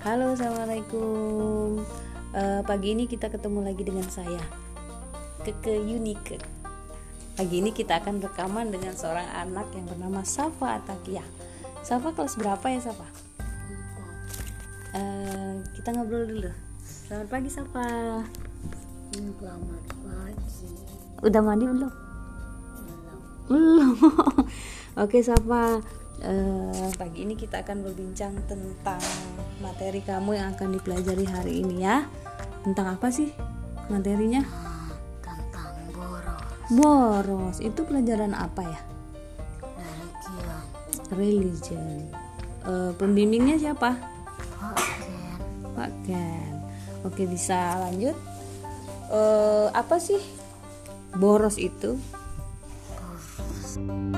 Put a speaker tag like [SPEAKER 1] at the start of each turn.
[SPEAKER 1] Halo, assalamualaikum. Eh, pagi ini kita ketemu lagi dengan saya, Keke Unique. Pagi ini kita akan rekaman dengan seorang anak yang bernama Safa Atakia. Safa kelas berapa ya Safa? Eh, kita ngobrol dulu. Selamat pagi Safa.
[SPEAKER 2] Hmm, Selamat pagi.
[SPEAKER 1] Udah mandi belum?
[SPEAKER 2] Belum.
[SPEAKER 1] Belum. Oke, Safa. Eh, pagi ini kita akan berbincang tentang materi kamu yang akan dipelajari hari ini ya. Tentang apa sih materinya?
[SPEAKER 2] Tentang boros
[SPEAKER 1] Boros. Itu pelajaran apa ya?
[SPEAKER 2] religion.
[SPEAKER 1] Religion. Eh, pembimbingnya siapa?
[SPEAKER 2] Pakaian
[SPEAKER 1] Pak Ken. Oke, bisa lanjut. Eh, apa sih boros itu?
[SPEAKER 2] boros.